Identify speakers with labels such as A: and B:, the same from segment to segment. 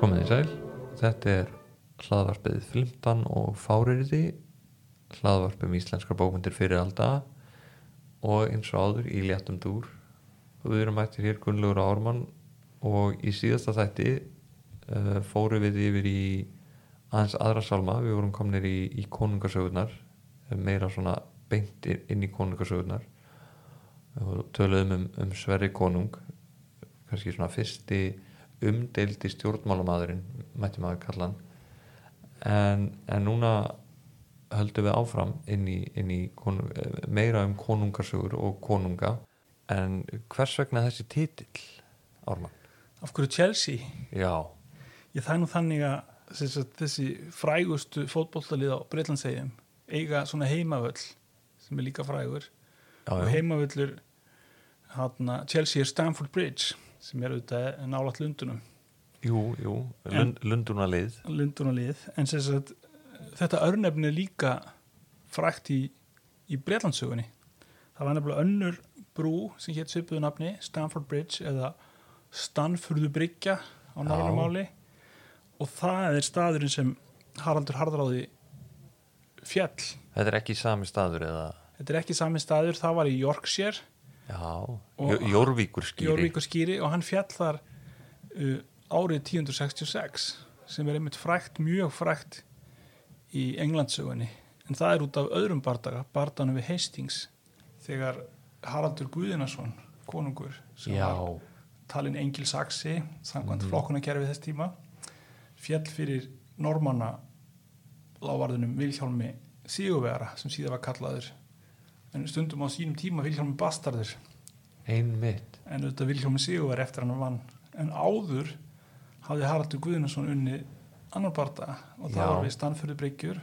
A: Komið í sæl, þetta er hlaðvarpið Flimtan og Fáririði hlaðvarp um íslenskar bókmyndir fyrir alda og eins og áður í léttum dúr og við erum mættir hér Gunnlaugur Ármann og í síðasta þætti uh, fórum við yfir í aðeins aðra salma, við vorum komnir í, í konungasögurnar eh, meira svona beint inn- inn í konungasögurnar og töluðum um, um Sverri konung kannski svona fyrsti umdeildi stjórnmálamadurinn mætti maður kalla hann en, en núna höldum við áfram inn í, inn í konung, eh, meira um konungasögur og konunga en hvers vegna þessi titill Ármann?
B: Af hverju Chelsea?
A: Já,
B: Ég það er nú þannig að sem sagt, þessi frægustu fótbollalið á Breitlandsegjum eiga svona heimavöll sem er líka frægur
A: já,
B: og
A: já.
B: heimavöllur hana, Chelsea er Stamford Bridge sem er auðvitað nálaðt Lundunum
A: jú, jú Lund, Lundunalið
B: Lundunalið en sem sagt, þetta örnefni er líka frægt í, í Breitlandsögunni það var nefnilega önnur brú sem hétt svipuðu nafni Stamford Bridge eða Stanfurðu Bryggja á
A: Já.
B: norðanum máli og það er staðurinn sem Haraldur Harðráði fjall
A: Þetta er ekki sami staður eða
B: þetta er ekki sami staður, það var í Yorkshire
A: Já,
B: Og-
A: Jórvíkurskýri
B: Jórvíkur skýri og hann fjall þar uh, árið 1066 sem er einmitt frækt, mjög frækt í Englandsögunni en það er út af öðrum bardaga bardanum við Hastings þegar Haraldur Guðinason konungur sem
A: Já,
B: var talinn Engil Saxi samkvæmt flokkunarkerfi þess tíma fjall fyrir normanna lávarðunum Vilhjálmi Sigurvegara sem síðan var kallaður en stundum á sínum tíma Vilhjálmi Bastardur
A: einmitt
B: en auðvitað Vilhjómi Sigurverð eftir hann vann en áður hafði Haraldur Guðnason unni annar barða og það
A: Já. Mhm.
B: var við Stanfjörðu Bryggjur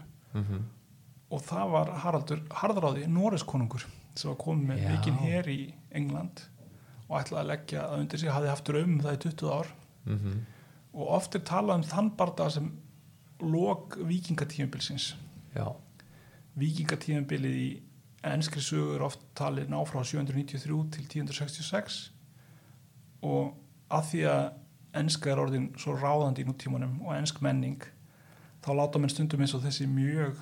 B: og það var Haraldur Harðráði Noreskonungur sem var komið með
A: Já.
B: mikinn hér í England og ætlaði að leggja að undir sig hafði haft raum um það í 20 ár
A: mm
B: og oft er talað um þann barða sem lok vikingatíðumbilsins
A: Já,
B: vikingatíðanbilið í enskri sögu er oft talið ná frá 793 til 1066 og að því að enska er orðin svo ráðandi í nútímanum og ensk menning þá láta menn stundum eins og þessi mjög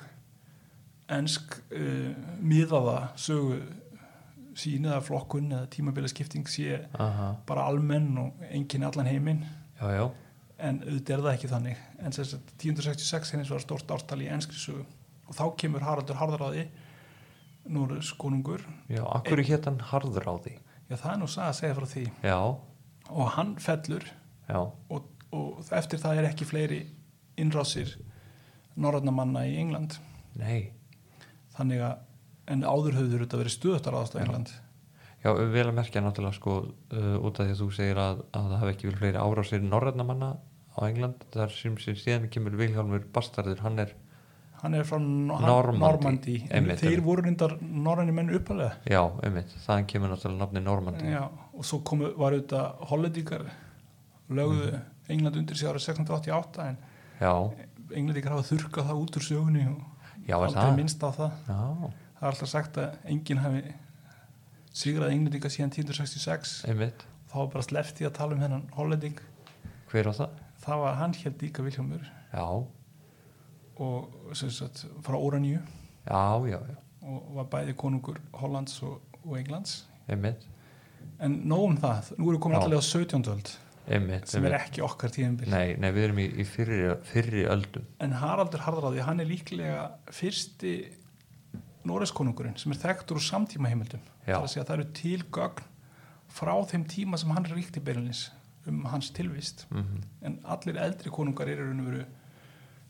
B: ensk uh, miðaða sögu sín eða flokkun eða tímabilaskipting sé
A: aha,
B: bara almenn og enginn allan heiminn
A: já, já
B: en auðvitað er það ekki þannig en sem sagt 1066 hennins var stórt ártal í enskri sögu og þá kemur Haraldur Harðaráði Núrus konungur
A: Já, akkur hétt hann Harðráði
B: já það er nú saga að segja frá því
A: Já,
B: og hann fellur
A: já,
B: og, og eftir það er ekki fleiri innrásir norrarna manna í England
A: nei
B: þannig að en áður höfður þetta verið stöðutar aðast á England
A: Já, vel að merkja náttúrulega sko uh, út af því að þú segir að, að það hafi ekki verið fleiri árásir norræna manna á England þar sem, sem síðan kemur Vilhjálmur Bastardur, hann er,
B: hann er frá
A: Normandi,
B: Normandi, Normandi. en
A: einmitt,
B: þeir
A: einmitt.
B: voru reyndar norræni menn uppalega
A: já, einmitt þaðan kemur náttúrulega nafni Normandi
B: Já, og svo komu, var auðvitað hollendingar lögðu
A: Mhm.
B: England undir sig árið 1688 en
A: Já,
B: englendingar hafa þurkað það út úr sögunni og
A: já, er
B: aldrei
A: það
B: minnst á það
A: Já,
B: það er alltaf sagt að enginn hafi sigrað englendinga síðan 1066
A: einmitt,
B: þá var bara sleppt í að tala um hennan hollending
A: hver á það?
B: það var hann held líka Viljómur
A: Já,
B: og sem sagt frá Óraníu
A: já, já, já
B: og var bæði konungur Hollands og, og Englands
A: einmitt,
B: en nóg um það, nú erum við komin
A: Já.
B: allavega á 17. öld
A: einmitt,
B: sem er
A: einmitt.
B: ekki okkar tíðanbyrg
A: Nei, nei, við erum í, í fyrri, fyrri öldum
B: en Haraldur Harðráði hann er líklega fyrsti Noreskonungurinn sem er þekktur úr samtíma heimildum
A: Já.
B: það er að segja að það eru til gögn frá þeim tíma sem hann ríkti beilinins um hans tilvist
A: Mhm.
B: en allir eldri konungar eru í raun og veru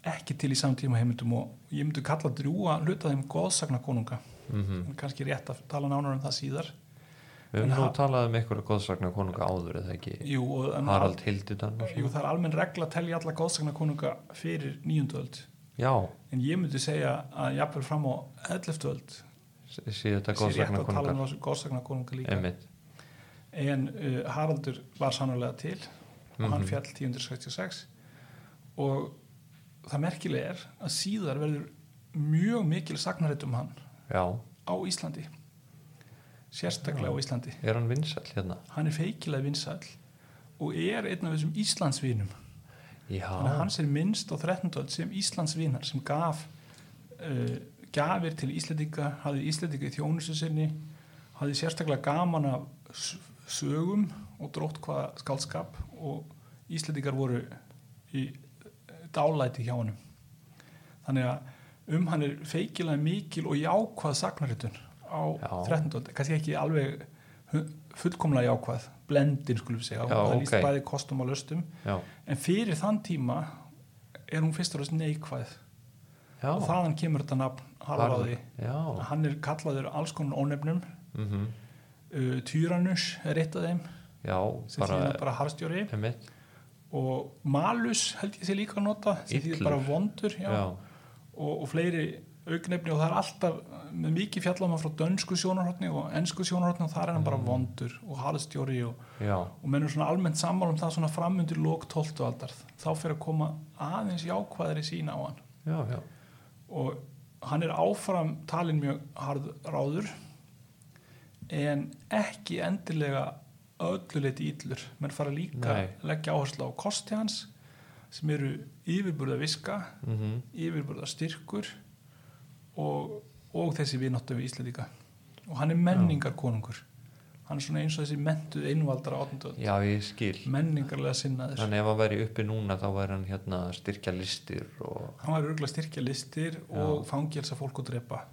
B: ekki til í samtíma heimildum og ég myndi kalla drjúa hluta þeim goðsagna konunga
A: Mhm.
B: en kannski rétt að tala nánar um það síðar
A: Við höfum
B: En
A: nú
B: ha-
A: talað um einhverja góðsagna konunga áður eða ekki
B: Jú, og- en-
A: Harald Hildudan og
B: Jú,
A: svona
B: það er almenn regla að telja alla goðsagna konunga fyrir nýjundöld
A: Já,
B: en ég myndi segja að jafnvel fram á 11. öld
A: síðan þetta
B: sé rétt
A: góðsagna
B: að
A: konungar
B: tala um þessu góðsagnakonunga líka
A: einmitt,
B: en uh, Haraldur var sannlega til og
A: Mhm.
B: hann fjall 1066 og það merkilega er að síðar verður mjög mikil sagnarit um hann
A: já
B: á Íslandi sérstaklega
A: Mhm.
B: á Íslandi
A: Er hann vinsall hérna?
B: hann er feikilega vinsæll og er einn af þessum Íslandsvinum
A: já,
B: þannig að hans er minnst á 13. öld sem Íslandsvinar sem gaf uh, gafir til Íslendinga hafði Íslendinga í þjónustu sinni hafði sérstaklega gaman af s- sögum og drótt hvaða skálskap og Íslendingar voru í eh, dálæti hjá hann þannig að um hann er feikilega mikil og jákvað sagnarritun á
A: Já.
B: 13. öld kannski ekki alveg hu- fullkomlega jákvað blendin skulum við segja
A: Já,
B: það er
A: ok.
B: víst bæði kostum og löstum
A: já,
B: en fyrir þann tíma er hún fyrst og fremst neikvæð
A: já
B: og þaðan kemur þetta nafn Haraldi
A: já,
B: hann er kallaður alls konar ónefnum
A: mm
B: uh, Tyrannus er eitt af þeim
A: já
B: sem bara,
A: bara,
B: þýðir bara harstjóri
A: einmitt,
B: og Malus held ég sé líka að nota sem þýðir
A: Illur.
B: bara vondur já,
A: já,
B: Og, og fleiri augnefni og það er alltaf uh, með mikið fjallamann frá dönsku sjónarhóttni og ennsku sjónarhóttni og þar er hann
A: Mm.
B: bara vondur og harstjóri og,
A: já,
B: og mennum svona almennt sammála um það svona framundir lók 12. aldar þá fyrir að koma aðeins jákvæðari sína á hann
A: já, já,
B: og hann er áfram talin mjög harð ráður en ekki endilega ölluleiti íllur menn fara líka
A: Nei.
B: að leggja áherslu á kosti hans sem eru yfirburða viska
A: mm
B: yfirburða styrkur og, og þessi vináttu við Íslandika og hann er menningar konungur hann er svona eins og þessi mentuð einvaldara átundöð
A: já, ég skil
B: menningarlega sinnaður
A: þannig ef hann væri uppi núna þá væri hann hérna að styrkja listir og,
B: hann var örgulega styrkja listir og fangelsa fólk og drepa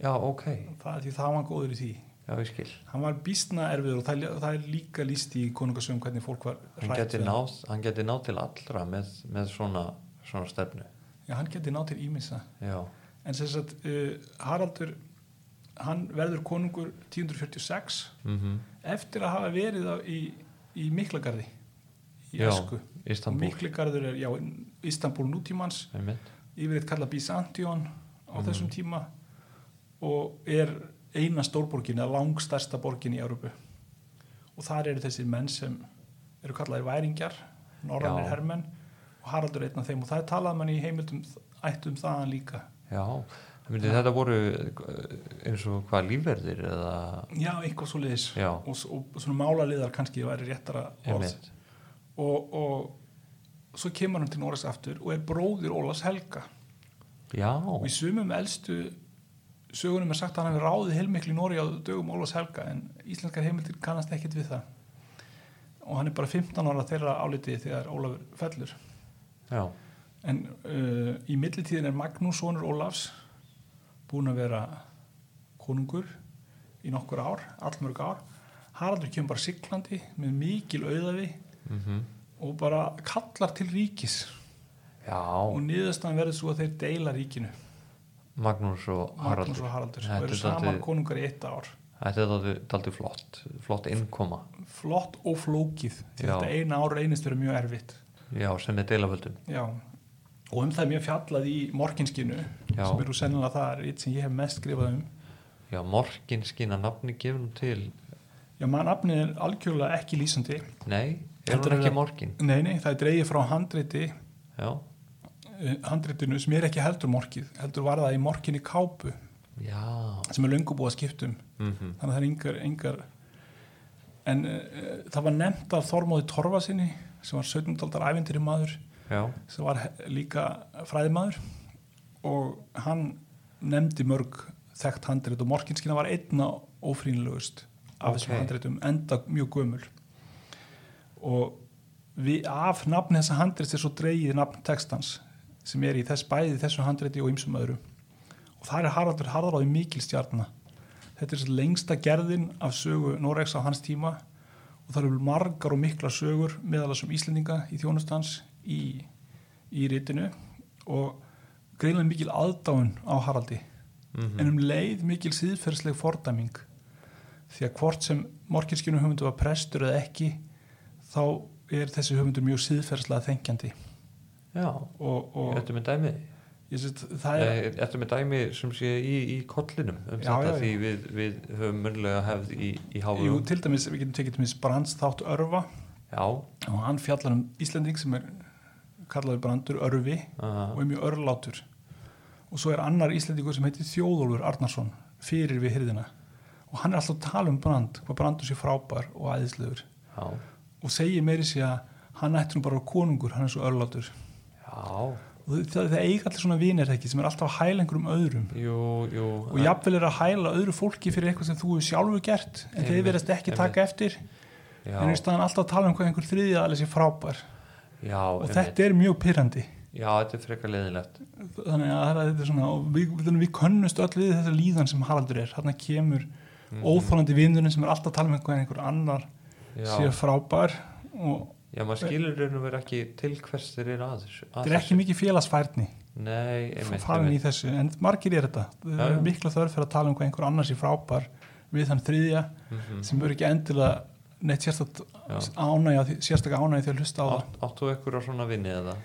A: já, ok,
B: það, því það var hann góður í því
A: já, ég skil
B: hann var býstna erfiður og það, er- það er líka líst í konungasöfum hvernig fólk var
A: hann
B: hrætt
A: geti
B: við
A: náð, hann geti náð til allra með, með svona, svona stefnu
B: Já, hann geti nátt til ímissa
A: já,
B: en sem sagt uh, Haraldur hann verður konungur 1046
A: mhm
B: eftir að hafa verið á, í, í Miklagarði í
A: Já,
B: Esku og
A: Istanbúl,
B: Miklagarður er já, Istanbúl nútímans
A: einmitt
B: yfirleitt kallað Byzantion á
A: Mhm.
B: þessum tíma og er eina stórborgin eða langstærsta borgin í Európu og þar eru þessir menn sem eru kallaðir væringjar norrannir
A: Já.
B: hermenn og Haraldur er einn af þeim og það er talað mann í heimildum ættum þaðan líka
A: já, það myndi þetta voru eh, eins og hvað lífverðir eða,
B: já, eitthvað svo liðis
A: já,
B: og, s- og svona málaliðar kannski væri réttara orð
A: einmitt
B: og, og svo kemur hann til Noregs aftur og er bróðir Ólas Helga
A: já,
B: og í sumum elstu sögunum er sagt að hann hafi ráðið heilmiklu í Nóri á dögum Ólafs Helga en íslenskar heimildir kannast ekkit við það og hann er bara 15 ára þeirra álitið þegar Ólafur fellur
A: já,
B: en uh, í millitíðin er Magnús sonur Ólafs búinn að vera konungur í nokkur ár, allmörg ár Haraldur kemur bara siglandi með mikil auðavi
A: mhm
B: og bara kallar til ríkis og
A: já,
B: niðurstaðan verður svo að þeir deila ríkinu
A: Magnús og
B: Magnús
A: Haraldur
B: og Haraldur
A: Þetta
B: og eru
A: er
B: saman
A: dálítið-
B: konungar í eitt ár
A: þetta er dálítið- dálítið flott flott innkoma,
B: flott og flókið
A: Já.
B: því þetta eina ár reynist verið mjög erfitt
A: já, sem er deilaföldum
B: já. og um það er mjög fjallað í morginskinu
A: Já.
B: sem eru sennilega það eitt sem ég hef mest skrifað um
A: já, morgin skína nafni gefnum til
B: já, maður nafnið er algjörlega ekki lýsandi
A: nei, er hún
B: Heldur
A: ekki
B: það-
A: morgin
B: nei, nei, það er dreigið frá handriti
A: já,
B: eh, handritinu sem er ekki heldur morgið heldur var það í morginni kápu
A: já
B: sem er löngu búið að skiptum
A: mhm
B: þannig að það er yngar, yngar en uh, það var nefnt af Þormóði Torfa sinni sem var 17. aldar ævindri maður
A: já,
B: sem var he- líka fræðimaður og hann nefndi mörg þekkt handrit og morginskina var einna ófrínlegust af þessum
A: Ok.
B: handritum enda mjög gömul og við, af nafn þessa handrit er svo dreigið nafn textans sem er í þess bæði í þessu handriti og ymsum öðru og það er Haraldur Harðaráði mikil stjarnna þetta er svo lengsta gerðin af sögu Noregs á hans tíma og það eru margar og mikla sögur meðalast um Íslendinga í þjónustans í, í ritinu og greinlega mikil aðdáun á Haraldi en um leið mikil síðferðsleg fordæming því að hvort sem morginskinu höfundu var prestur eða ekki þá er þessi höfundu mjög síðferðslega þengjandi
A: já
B: og, og
A: Þetta með dæmi
B: ég set, það er
A: Þetta Eh, með dæmi sem sé í, í kollinum um
B: Já,
A: þetta
B: já, já.
A: því við, við höfum munlega hefð í, í háfum
B: Jú, til dæmis, við getum tekið til dæmis Brands þátt örfa
A: Já,
B: og hann fjallar um Íslanding sem er kallaður Brandur örfi og
A: uh,
B: er mjög örlátur og svo er annar Íslandingur sem heitir Þjóðólfur Arnarsson fyrir við hirðina og hann er alltaf að tala um Brand hvað Brandur sé frábær og æðislegur
A: já,
B: og segir meiri sé að hann ætti nú bara að vera konungur, hann er svo örlátur
A: Já,
B: og það, það eiga allir svona vinir ekki sem er alltaf að hæla einhverjum öðrum
A: jú, jú
B: og jafnvel er að hæla öðru fólki fyrir eitthvað sem þú hefur sjálfur gert en þeir
A: Einmitt,
B: verðast ekki
A: einmitt.
B: taka eftir
A: já,
B: en í staðan alltaf að tala um hvað einhver þriðja aðeins er frábær
A: já,
B: og
A: einmitt.
B: þetta er mjög pyrrandi
A: já, þetta er frekar leðinlegt
B: þannig að það er- þetta er svona og við, við, við könnumst öll við þessa líðan sem Haraldur er þarna kemur
A: Mm. Mhm.
B: óþólandi vinnurinn sem er alltaf að tala um einhver, einhver annar sé
A: Já,
B: frábær og
A: já maður skilur raun og vera ekki til hvers þeir eru að þessu að
B: þetta er ekki
A: þessu.
B: mikið félagsfærni
A: Nei, einmitt,
B: farin í
A: einmitt
B: þessu, en margir er þetta það
A: Já,
B: er
A: já.
B: mikla þörf fyrir að tala um hvað einhver annars er frábær við þann þriðja
A: Mhm.
B: sem verður ekki endilega neitt sérstakt
A: Já.
B: ánægja sérstaka ánægja þegar hlusta á það
A: Átt- Áttu ekkur á svona vinni eða?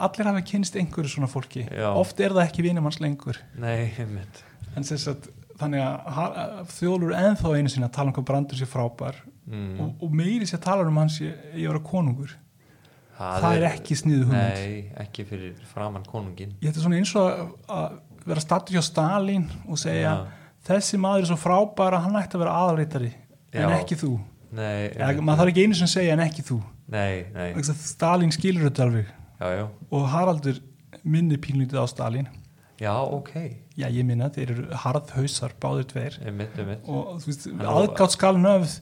B: allir hafa kynst einhverju svona fólki
A: Já.
B: oft er það ekki vinimanns lengur
A: Nei, einmitt
B: en sérst að þannig að ha- þjóðlur er ennþá einu sinni að tala um hvað brandur sé frábær
A: mm,
B: og, og meiri sér talar um hans ég, ég vera konungur það er ekki sniðu hugmynd
A: Nei, ekki fyrir framann konungin
B: ég þetta er svona eins og að, að vera stattur hjá Stalin og segja
A: Já.
B: þessi maður er svo frábær að hann ætti að vera aðalítari en
A: Já.
B: ekki þú
A: Nei,
B: ja,
A: einmitt.
B: maður þarf ekki einu sem segja en ekki þú
A: Nei, nei,
B: Vegna þess að Stalin skilur þetta alveg
A: já, já
B: og Haraldur minni pínlítið á Stalin
A: Já, ok,
B: já ég minna þeir eru harðhausar báðir tveir
A: einmitt, einmitt
B: og þú veist
A: Hann-
B: aðgátt skal nöfð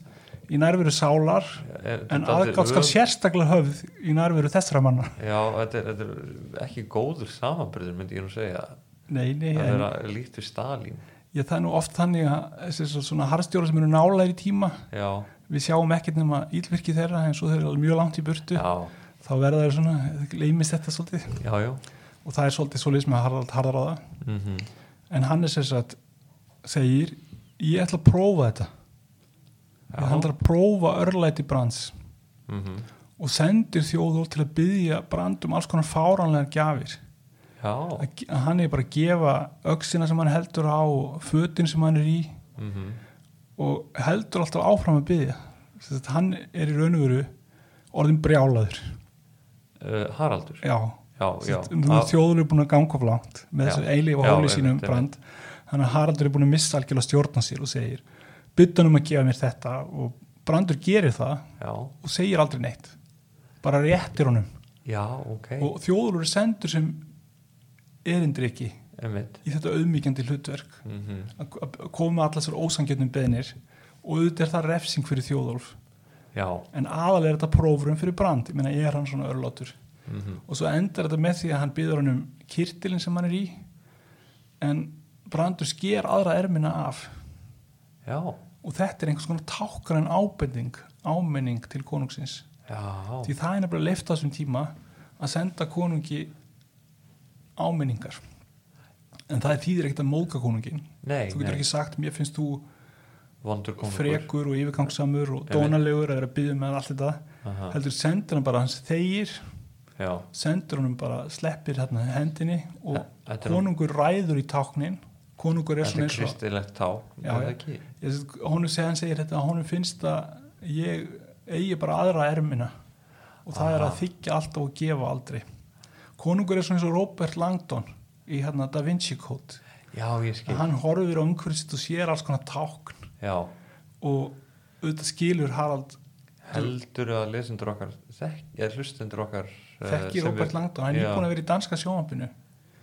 B: í nærveru sálar
A: Er-
B: en
A: dálítið
B: aðgátt skal
A: öf-
B: sérstaklega höfð í nærveru þessara manna
A: Já, þetta er, þetta er ekki góður samanbyrður myndi ég nú segja
B: nei, nei,
A: Það
B: en,
A: er að líkt við Stalín
B: ég, það er nú oft þannig að þessi svo- svona harðstjóra sem eru nálæri tíma
A: Já,
B: við sjáum ekkert nema ílvirki þeirra en svo þeir eru alveg mjög langt í burtu
A: já,
B: þá verða þeir svona, leimist þetta svolítið
A: já, já
B: og það er svolítið svolítið sem Harald Harðaráða
A: mm
B: en hann er sér satt segir, ég ætla að prófa þetta
A: Já.
B: ég ætla að prófa örlæti brands
A: Mhm.
B: og sendir þjóður til að byggja brand um alls konar fáránlegar gjafir
A: Já,
B: að ge- að hann er bara að gefa öksina sem hann heldur á og fötin sem hann er í
A: mm
B: og heldur alltaf áfram að byggja Sest, hann er í raun og veru orðin brjálaður
A: uh, Haraldur
B: já,
A: Já, já, Ah, að-
B: þjóður er búin að ganga of langt með
A: Já.
B: þessu eilíf og
A: Já,
B: hóli
A: einmitt,
B: sínum
A: einmitt.
B: brand þannig að Haraldur er búin að missa algjörlega stjórna sér og segir byttunum að gefa mér þetta og brandur gerir það
A: já,
B: og segir aldrei neitt bara réttir honum
A: já, ok
B: og þjóður er sendur sem erindriki
A: Einmitt
B: í þetta auðmíkjandi hlutverk
A: mm
B: að að koma með allar sér ósangjöndum beðnir og auðvitað er það refsing fyrir þjóðolf
A: Já,
B: en aðalega er þetta prófurum fyrir brand ég meina ég er hann svona örlátur
A: mm
B: og svo endar þetta með því að hann byður hann um kirtilin sem hann er í en brandur sker aðra ermina af
A: já,
B: og þetta er einhvers konar tákran ábending ámenning til konungsins
A: já
B: því það er nefnilega leift á þessum tíma að senda konungi áminningar en það þýðir ekkert að móðga konungin
A: Nei,
B: þú getur
A: nei,
B: ekki sagt, mér finnst þú
A: vondur konungur
B: frekur og yfirgangsamur og
A: Einmitt.
B: dónalegur að vera að byggja með allt þetta
A: Aha,
B: heldur sendur hann bara hans þegir
A: Já,
B: sendur hann bara, sleppir hérna hendinni og
A: Þa- þetta er-
B: konungur ræður í táknin konungur er
A: þetta
B: svona
A: er
B: eins og
A: kristilegt tá
B: Já,
A: er það
B: já.
A: ekki?
B: Ég sé- honum segir, hann segir þetta að honum finnst að ég eigi bara aðra ermina og það er að
A: Aha.
B: þykja alltaf og gefa aldrei konungur er svona eins og Robert Langdon í hérna Da Vinci Code
A: Já, ég skil
B: að hann horfir á umhverfisitt og sér alls konar tákn
A: Já,
B: og auðvitað skilur Harald
A: heldur að lesendur okkar þekk, eða hlustendur okkar eh,
B: þekki
A: sem
B: Robert
A: við-
B: Langdon, hann er
A: Já.
B: búin að vera í danska sjónvampinu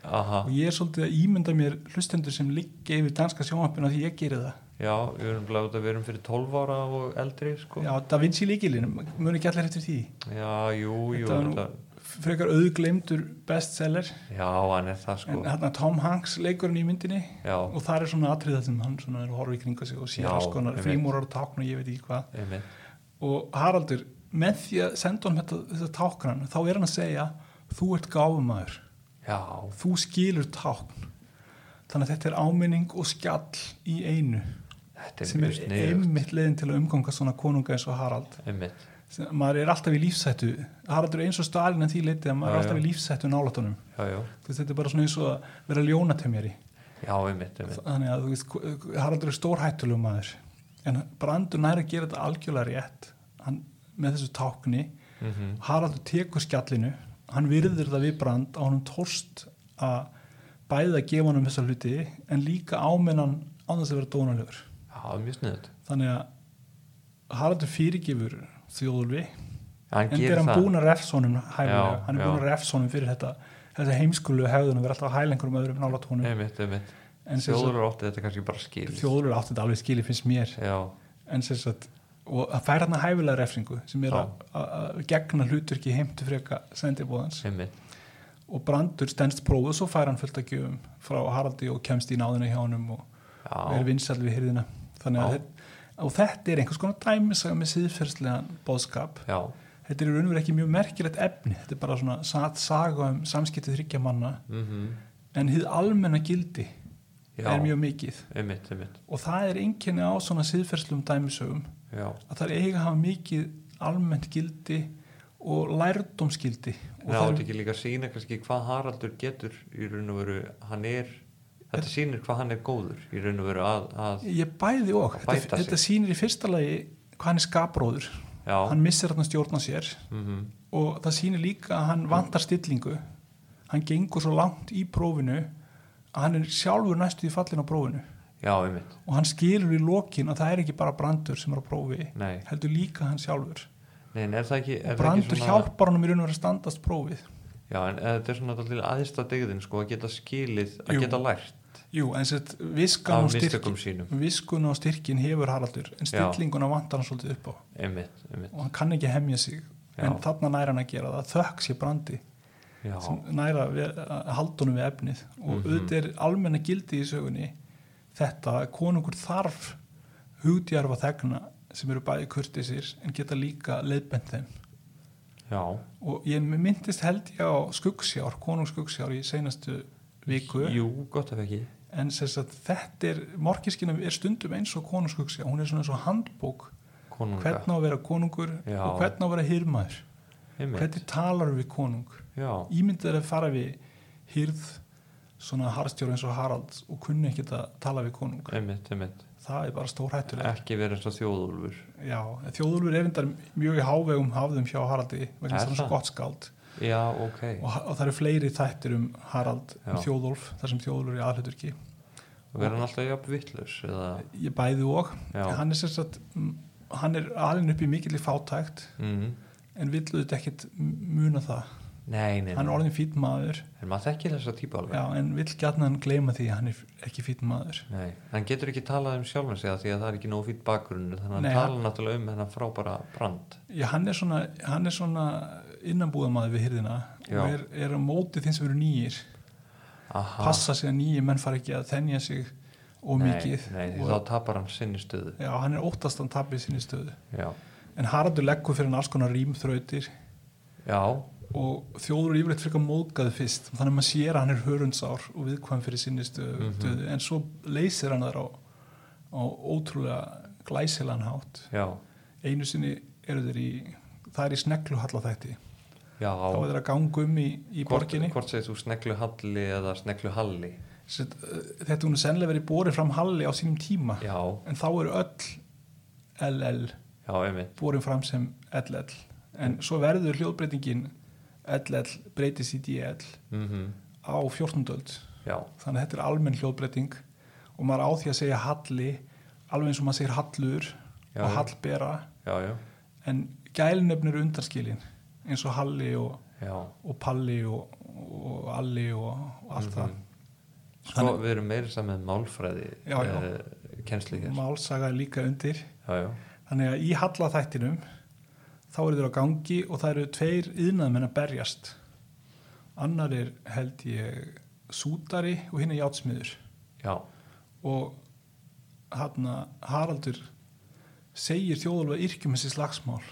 A: Aha,
B: og ég er svolítið að ímynda mér hlustendur sem liggja yfir danska sjónvampinu því ég geri það
A: já, við erum blæðið út að við erum fyrir 12 ára og eldri, sko
B: Já, Da Vinci líkilinn, mun ekki allir eftir því
A: Já, jú, jú
B: Þetta var nú-
A: þetta,
B: frekar auðgleymdur bestseller
A: Já, hann er það sko
B: en hérna Tom Hanks leikur hann í myndinni
A: Já,
B: og það er svona atriða sem hann svona er að horfa í kringa sig og sér
A: Já,
B: alls konar
A: einmitt.
B: frímúrar og tákn og ég veit ekki hvað
A: einmitt
B: og Haraldur, með því að senda hann þetta, þetta táknan, þá er hann að segja þú ert gáfumæður,
A: Já,
B: þú skilur tákn þannig að þetta er áminning og skjall í einu
A: þetta er
B: sem
A: mjög
B: er
A: sniðugt
B: einmitt leiðin til að umganga svona konunga eins og Harald
A: Einmitt,
B: sem, maður er alltaf í lífsættu Haraldur er eins og Stalin en því leiti að
A: Já,
B: maður er alltaf
A: já.
B: í lífsættu nálatunum
A: já, já
B: þetta er bara svona eins og að vera ljónatemjari
A: Já, einmitt, einmitt
B: þannig að þú veist, Haraldur er stórhættuleg maður en Brandur næri að gera þetta algjörlega rétt hann, með þessu tákni
A: mm
B: Haraldur tekur skjallinu hann virðir það við Brand á honum tórst að bæði að gefa honum þessa hluti en líka ámennan á þess að vera dónalegur
A: Já, mjög sniðugt
B: þannig að Haraldur fyrirgefur þjóðulvi
A: hann
B: en
A: gerir
B: er hann
A: það
B: búin að refsónum hæfilega,
A: Já,
B: hann
A: já.
B: er búin að refsónum fyrir þetta þetta heimskulu hefðun að vera alltaf að hæla einhverjum öðrum nálat honum
A: einmitt, einmitt.
B: en sem sagt,
A: þjóður átti þetta kannski bara skil
B: þjóður átti þetta alveg skili finnst mér
A: já,
B: en sem sagt, og að færa hann að hæfilega refsingu sem er að- að að gegna hlutverki heimtu freka sendibóðans
A: einmitt,
B: og Brandur stendst prófið og svo fær hann fullt að gjöfum frá Haraldi og kemst í náðina hjá honum og er
A: já,
B: vinsall við hyrðina þannig að
A: Já.
B: þetta, og þetta er einhvers konar dæmisaga með síðferðslegan bóðskap
A: já
B: þetta er í raun og verið ekki mjög merkilegt efni þetta er bara svona satt saga um samskipti þryggja manna
A: mm
B: en hið almenna gildi
A: já,
B: er mjög mikið
A: einmitt, einmitt
B: og það er einkenni á svona síðferðslum dæmisögum
A: já,
B: að það er eiga að hafa mikið almennt gildi og lærdómsgildi og
A: það
B: það
A: átti
B: er,
A: ekki líka að sína kannski hvað Haraldur getur í raun og veru hann er, þetta sýnir hvað hann er góður í raun og veru að, að
B: ég bæði
A: Og
B: og
A: bæta
B: þetta,
A: sig.
B: þetta sýnir í fyrsta lagi hvað hann er skapróður
A: já,
B: hann missir hann stjórna sér
A: mm
B: og það sýnir líka að hann vantar stillingu hann gengur svo langt í prófinu að hann er sjálfur næstu í fallin á prófinu
A: já, einmitt
B: og hann skilur í lokin að það er ekki bara brandur sem er á prófi
A: nei,
B: heldur líka hann sjálfur
A: nei, en er það ekki, er
B: og
A: það
B: brandur
A: ekki svona
B: hjálpar hann um í raun og vera að standast prófið
A: já, en eh, þetta er svona alltaf aðista degðin sko, að geta skilið, að
B: Jú.
A: geta lært
B: Jú, en sett viskan
A: af
B: og styrkin
A: mistökum sínum
B: viskun og styrkin hefur Haraldur en
A: Já.
B: stillinguna vantar hann svolítið upp á
A: einmitt, einmitt,
B: og hann kann ekki hemja sig
A: Já.
B: en þarna næra hann að gera það þökk sé brandi
A: já,
B: sem næra við, að haldunum við efnið og auðvitað er almenna gildi í sögunni þetta að konungur þarf hugdjarfa þegna sem eru bæði kurtisir en geta líka leiðbent þeim
A: já
B: og ég myndist held ég á skuggsjár, konung skuggsjár í seinastu viku
A: jú, gott ef ekki
B: en sess að þetta er, morgiskina er stundum eins og konung skuggsjár, hún er svona eins og handbók
A: konunga,
B: hvernig á að vera konungur
A: Já.
B: og hvernig á að vera hirmaður
A: einmitt,
B: hvernig talar við konung
A: já,
B: ímyndið er að fara við hýrð svona harstjóri eins og Harald og kunni ekki að tala við konung
A: einmitt, Eh. einmitt
B: það er bara stór hættulega
A: ekki vera eins og þjóðúlfur
B: Já, en Þjóðúlfur er endar mjög í hávegum hafðum hjá Haraldi vegna
A: Er
B: þess að hann er svo
A: það?
B: gott skáld
A: já, ok,
B: og, og það eru fleiri þættir um Harald um
A: Já.
B: Þjóðúlf, þar sem Þjóðúlfur er aðhluturki
A: vera hann alltaf jafn vittlaus eða,
B: ég bæði og,
A: já,
B: hann er sérst að hann er alin upp í mikilli fátækt
A: mhm
B: en vill auðvitað ekkit muna það
A: Nei, nei,
B: hann er
A: nei.
B: orðin fýtt maður
A: en maður þekkir þessa típa alveg
B: já, en vill gætna hann gleyma því að hann er ekki fýtt maður
A: Nei, hann getur ekki talað um sjálfan sig af því að það er ekki nóg fýtt bakgrunn þannig að
B: Nei,
A: hann tala náttúrulega um þennan frábara brand
B: Já, hann er svona, hann er svona innanbúðamaður við hyrðina
A: Já.
B: og er, er á móti þeim sem eru nýjir
A: Aha,
B: passa sig að nýjir menn fara ekki að þennja sig og
A: nei,
B: mikið
A: Nei, því
B: og,
A: þá tapar hann sinni stöðu
B: Já, hann er óttast að hann tapir sinni stöðu
A: Já,
B: en Haraldur leggur fyrir hann alls konar rýmþrautir
A: já,
B: og þjóður yfirleitt frekar móðgað fyrst þannig að maður sér að hann er hörundsár og viðkvæm fyrir sinni stöðu
A: Mhm.
B: en svo leysir hann þar á, á ótrúlega glæsilegan hátt
A: já,
B: einu sinni eru þeir í það er í snegluhalla þætti
A: já
B: þá er þeir að ganga um í, í borginni
A: Hvort segir þú sneglu halli eða sneglu halli
B: Sett, uh, þetta hún er sennilega verið borið fram Halli á sínum tíma
A: Já,
B: en þá eru öll LL
A: já, einmitt
B: borin fram sem LL en svo verður hljóðbreytingin LL breytist í DL
A: mm
B: á 14. öld
A: Já,
B: þannig að þetta er almenn hljóðbreyting og maður á því að segja Halli alveg eins og maður segir Hallur
A: Já, já.
B: og Hallbera
A: já, já,
B: en gælnöfn eru undanskilin eins og Halli og,
A: já
B: og Palli og, og Alli og, og
A: Mhm,
B: allt það
A: Svo
B: Þannig-
A: við erum meira saman með málfræði
B: Já, já.
A: eh, kennslu hér
B: Málsaga er líka undir
A: Já, já,
B: Þannig að í hallaþættinum þá eru þeir á gangi og það eru tveir yðnaðmenn að berjast. Annar er held ég sútari og hinn er játsmiður
A: já,
B: og hann Haraldur segir Þjóðalva yrkjum þessi slagsmál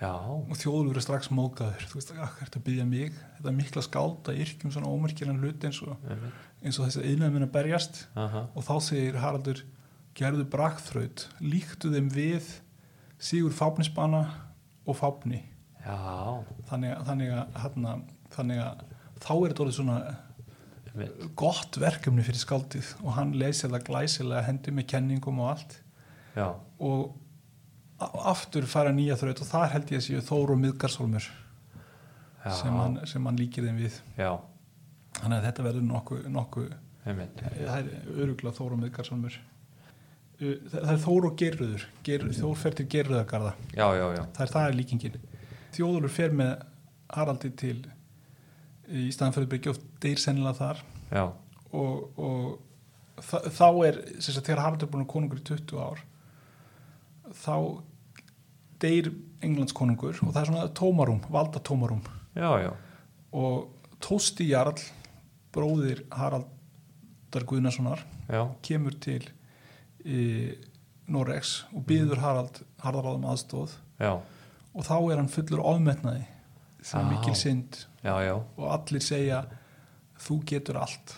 A: já
B: og Þjóðalva er strax mókaður. Þú veist, hvað er þetta að byggja mig? Þetta mikla skálda yrkjum svona ómerkilan hlut eins og,
A: einmitt.
B: eins og þessi yðnaðmenn að berjast
A: Aha,
B: og þá segir Haraldur gerðu brakþraut, líktu þeim við sigur fápnisbana og fápni
A: já,
B: þannig, að- þannig, að, hana, þannig að þá er þetta orðið svona
A: einmitt
B: gott verkefni fyrir skaldið og hann leysir það glæsilega hendi með kenningum og allt
A: Já,
B: og a- aftur fara nýja þraut og þar held ég að séu Þóru og Miðgarsolmur
A: já,
B: sem hann, sem hann líkir þeim við
A: já,
B: þannig að þetta verður nokkuð nokku,
A: einmitt
B: það er öruglega Þóru Miðgarssonur það er Þóru og Gerruður Gerruð, Þór fer til Gerruðagarða
A: Já, já, já,
B: það er það er líkingin þjóðulur fer með Haraldi til í staðan fyrir Bryggjóf deyr sennilega þar
A: já,
B: og, og þa- þá er sem sagt, þegar Haraldur er búin að konungur í 20 ár þá deyr Englands konungur og það er svona tómarum, valda tómarum
A: já, já
B: og Tósti Jarl bróðir Haraldar Guðnasonar
A: já,
B: kemur til e, Noregs og byður Harald Harðaráðum aðstóð
A: já,
B: og þá er hann fullur ofmetnaði
A: Á.
B: sem ah. mikil synd
A: já, já
B: og allir segja þú getur allt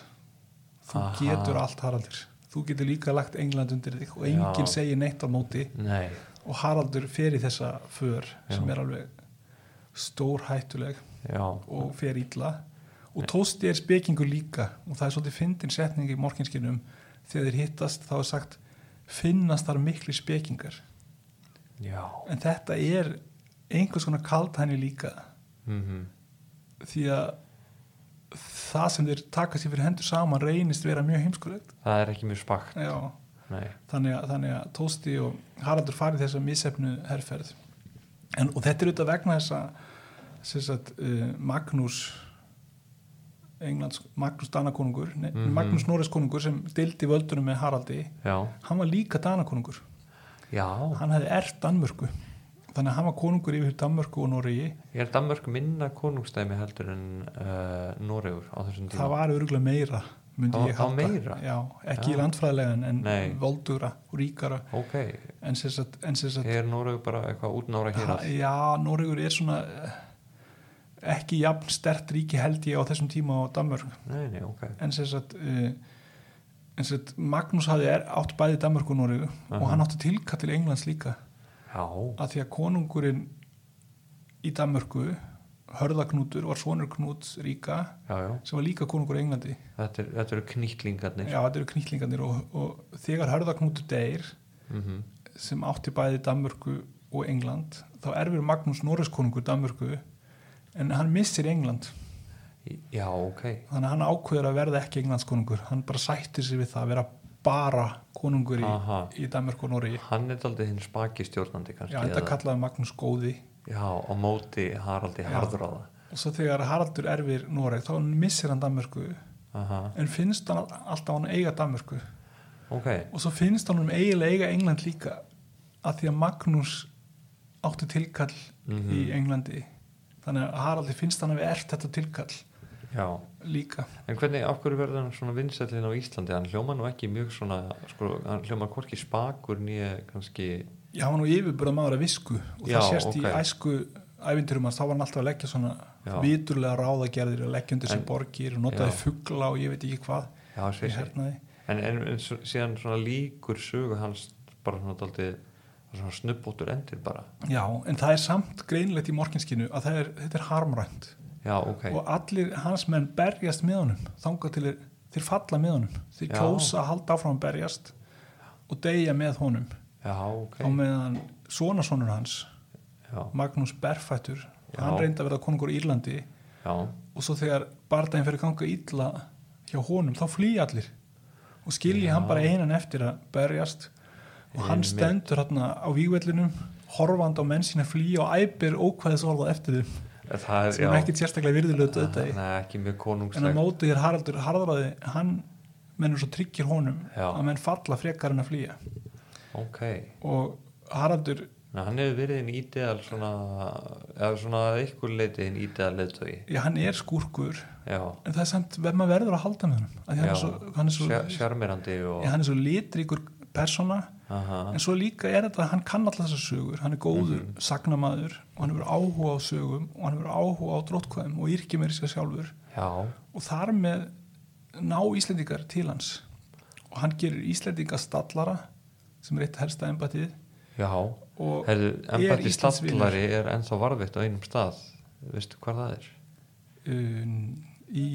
B: þú
A: Aha.
B: getur allt Haraldur þú getur líka lagt England undir þig og
A: Já.
B: enginn segir neitt á móti
A: nei,
B: og Haraldur fer í þessa för sem
A: Já.
B: er alveg stórhættuleg
A: já,
B: og fer illa og Tósti er spekingu líka og það er svolítið fyndin setning í morginskinum þegar þeir hittast þá er sagt finnast þar miklu spekingar
A: já
B: en þetta er einhvers konar kald henni líka
A: mhm
B: því að það sem þeir taka sér fyrir hendur saman reynist vera mjög heimskulegt
A: það er ekki mjög spakt
B: Já,
A: nei,
B: þannig, að, þannig að Tósti og Haraldur farið þessa missefnu herrferð en, og þetta er auðvitað vegna þess að sem sagt, uh, Magnús Englands, Magnús Danakonungur mm
A: Mhm.
B: Magnús Noreskonungur sem deildi völdunum með Haraldi
A: já,
B: hann var líka Danakonungur
A: já
B: hann hefði ert Danmörku þannig að hann var konungur yfir Danmörku og Noregi
A: er Danmörk minna konungstæmi heldur en uh, Noregur á þessum tíma
B: það var örgulega meira myndi
A: Það var-
B: ég
A: það var
B: halda
A: meira?
B: Já, ekki
A: Já.
B: í landfræðilegan en
A: Nei.
B: voldugra og ríkara
A: ok,
B: en sem sagt, en sem sagt
A: er Noregur bara eitthvað útnára hér
B: ha, já, Noregur er svona eh, ekki jafn stert ríki held ég á þessum tíma á Danmörk
A: nei, nei, ok
B: en sem sagt uh, en sem sagt, Magnús hafði er, átt bæði Danmörk og Noregu og
A: Aha.
B: hann átti tilkall til Englands líka
A: já,
B: að því að konungurinn í Danmörku Hörðaknútur var sonur Knúts ríka
A: já, já
B: sem var líka konungur í Englandi
A: Þetta, er, þetta eru knýtlingarnir
B: Já, þetta eru knýtlingarnir og, og þegar hörðaknútu deyr
A: mm
B: sem átti bæði Danmörku og England þá erfir Magnús Norriskonungur Danmörku en hann missir England
A: já ok,
B: þannig að hann ákveður að verða ekki Englandskonungur hann bara sættir sig við það að vera bara konungur í,
A: Aha.
B: í Danmörku og Norri
A: hann er aldrei hinn spaki stjórnandi kannski
B: Já, þetta
A: eða-
B: kallaði Magnús Góði
A: já, á móti Haraldi
B: Já.
A: Harðráða
B: og svo þegar Haraldur erfir Noreg þá missir hann Danmörku
A: Aha,
B: en finnst hann alltaf hann eiga Danmörku
A: ok,
B: og svo finnst hann um eiginlega eiga England líka að því að Magnús átti tilkall
A: Mhm.
B: í Englandi þannig að Haraldi finnst hann að við ert þetta tilkall
A: já
B: líka
A: en hvernig, af hverju verður hann svona vinsætlinn á Íslandi hann hljóma nú ekki mjög svona sko, hann hljóma hvorki spakur nýja kannski,
B: ég hafa nú yfirburða maður að visku og
A: Já,
B: það sést í
A: ok.
B: æsku ævindurum hans þá var hann alltaf að leggja svona
A: Já.
B: viturlega ráðagerðir að leggja undir
A: En-
B: sig borgir og notaði
A: Já.
B: fugla og ég veit ekki hvað
A: já,
B: í
A: sér sér
B: hernaði
A: en, en, en s- síðan svona líkur sögu hans bara svona daldið svona snubbóttur endir bara
B: já, en það er samt greinlegt í morginskinu að það er, þetta er harmrænt
A: já, ok,
B: og allir hans menn berjast með honum þangað til þeir, þeir falla með honum þeir
A: Já.
B: kjósa að halda áfram að berjast og deyja með honum
A: já, ok
B: á meðan sonasonur hans
A: já,
B: Magnús Berfættur
A: Já.
B: hann reyndi að verða konungur í Írlandi
A: já,
B: og svo þegar bardaginn fyrir ganga illa hjá honum þá flýja allir og skilji
A: Já.
B: hann bara einan eftir að berjast og hann
A: Einmitt.
B: stendur hérna á vígvellinum horfand á menn sína flýja og æpir ókvæðis orða eftir þeim
A: En það
B: sem
A: Eh, já.
B: er ekkit sérstaklega virðilegu döðdagi
A: Nei, ekki mjög
B: en að
A: konungslegt
B: móti þér Haraldur Harðraði hann mennur svo tryggir honum
A: Já.
B: að menn falla frekar en að flýja
A: ok,
B: og Haraldur
A: Ná, hann hefur verið hinn ídeal svona, eða svona að ykkur leiti hinn ídeal leitögi
B: já, hann er skúrkur
A: já,
B: en það er samt vel maður verður að halda með honum að hann er svo, hann er svo,
A: Sjar- sjarmerandi og
B: já, hann er svo litríkur persóna
A: aha,
B: en svo líka er þetta að hann kann alltaf þessar sögur hann er góður sagnamaður og hann hefur áhuga á sögum og hann hefur áhuga á drótkvæðum og yrkja meiri sér sjálfur
A: já,
B: og þar með ná Íslendingar til hans og hann gerir Íslendinga stallara sem er eitt helsta embætið
A: já
B: og
A: Herðu,
B: er
A: embætti
B: Íslandsvinur.
A: stallari er ennþá varðvitt á einum stað veistu hvað það er?
B: um, í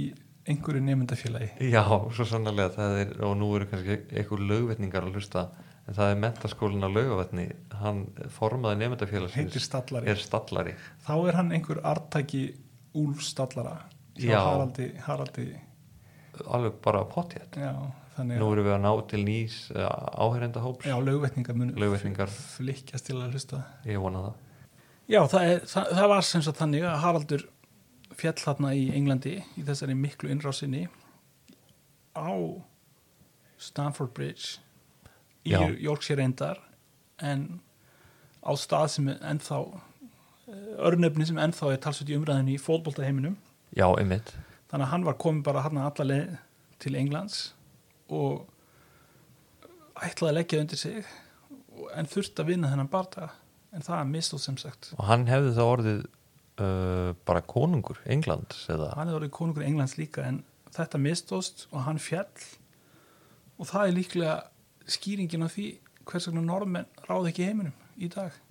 B: einhverju nefndafélagi
A: Já, svo sannlega það er, og nú eru kannski einhver lögvetningar að hlusta en það er mentaskólin á lögavetni hann formaði nefndafélagsins
B: heitir Stallari,
A: er stallari
B: þá er hann einhver artaki Úlf Stallara hjá
A: Já.
B: Haraldi, Haraldi
A: alveg bara potjett
B: já, þannig
A: Nú
B: að
A: erum við að ná til nýs uh, áherendahóps,
B: já, lögvetningar mun
A: lögveitningar,
B: flikkjast til að hlusta
A: ég vona það.
B: Já, það, er, það, það var sem sagt þannig að Haraldur fjall þarna í Englandi í þessari miklu innrásinni á Stamford Bridge í
A: Já.
B: Yorkshire endar en á stað sem er ennþá eh, örnefni sem ennþá er talsveit í umræðinu í fótboltaheiminum
A: já, einmitt
B: þannig að hann var komin bara hann alla leið til Englands og ætlaði að leggja undir sig en þurfti að vinna þennan barða en það mistóð sem sagt
A: og hann hefði þá orðið uh, bara konungur, England eða,
B: hann er orðið konungur Englands líka en þetta mistóðst og hann fjall og það er líklega skýringin á því hvers vegna norðmenn ráði ekki heiminum í dag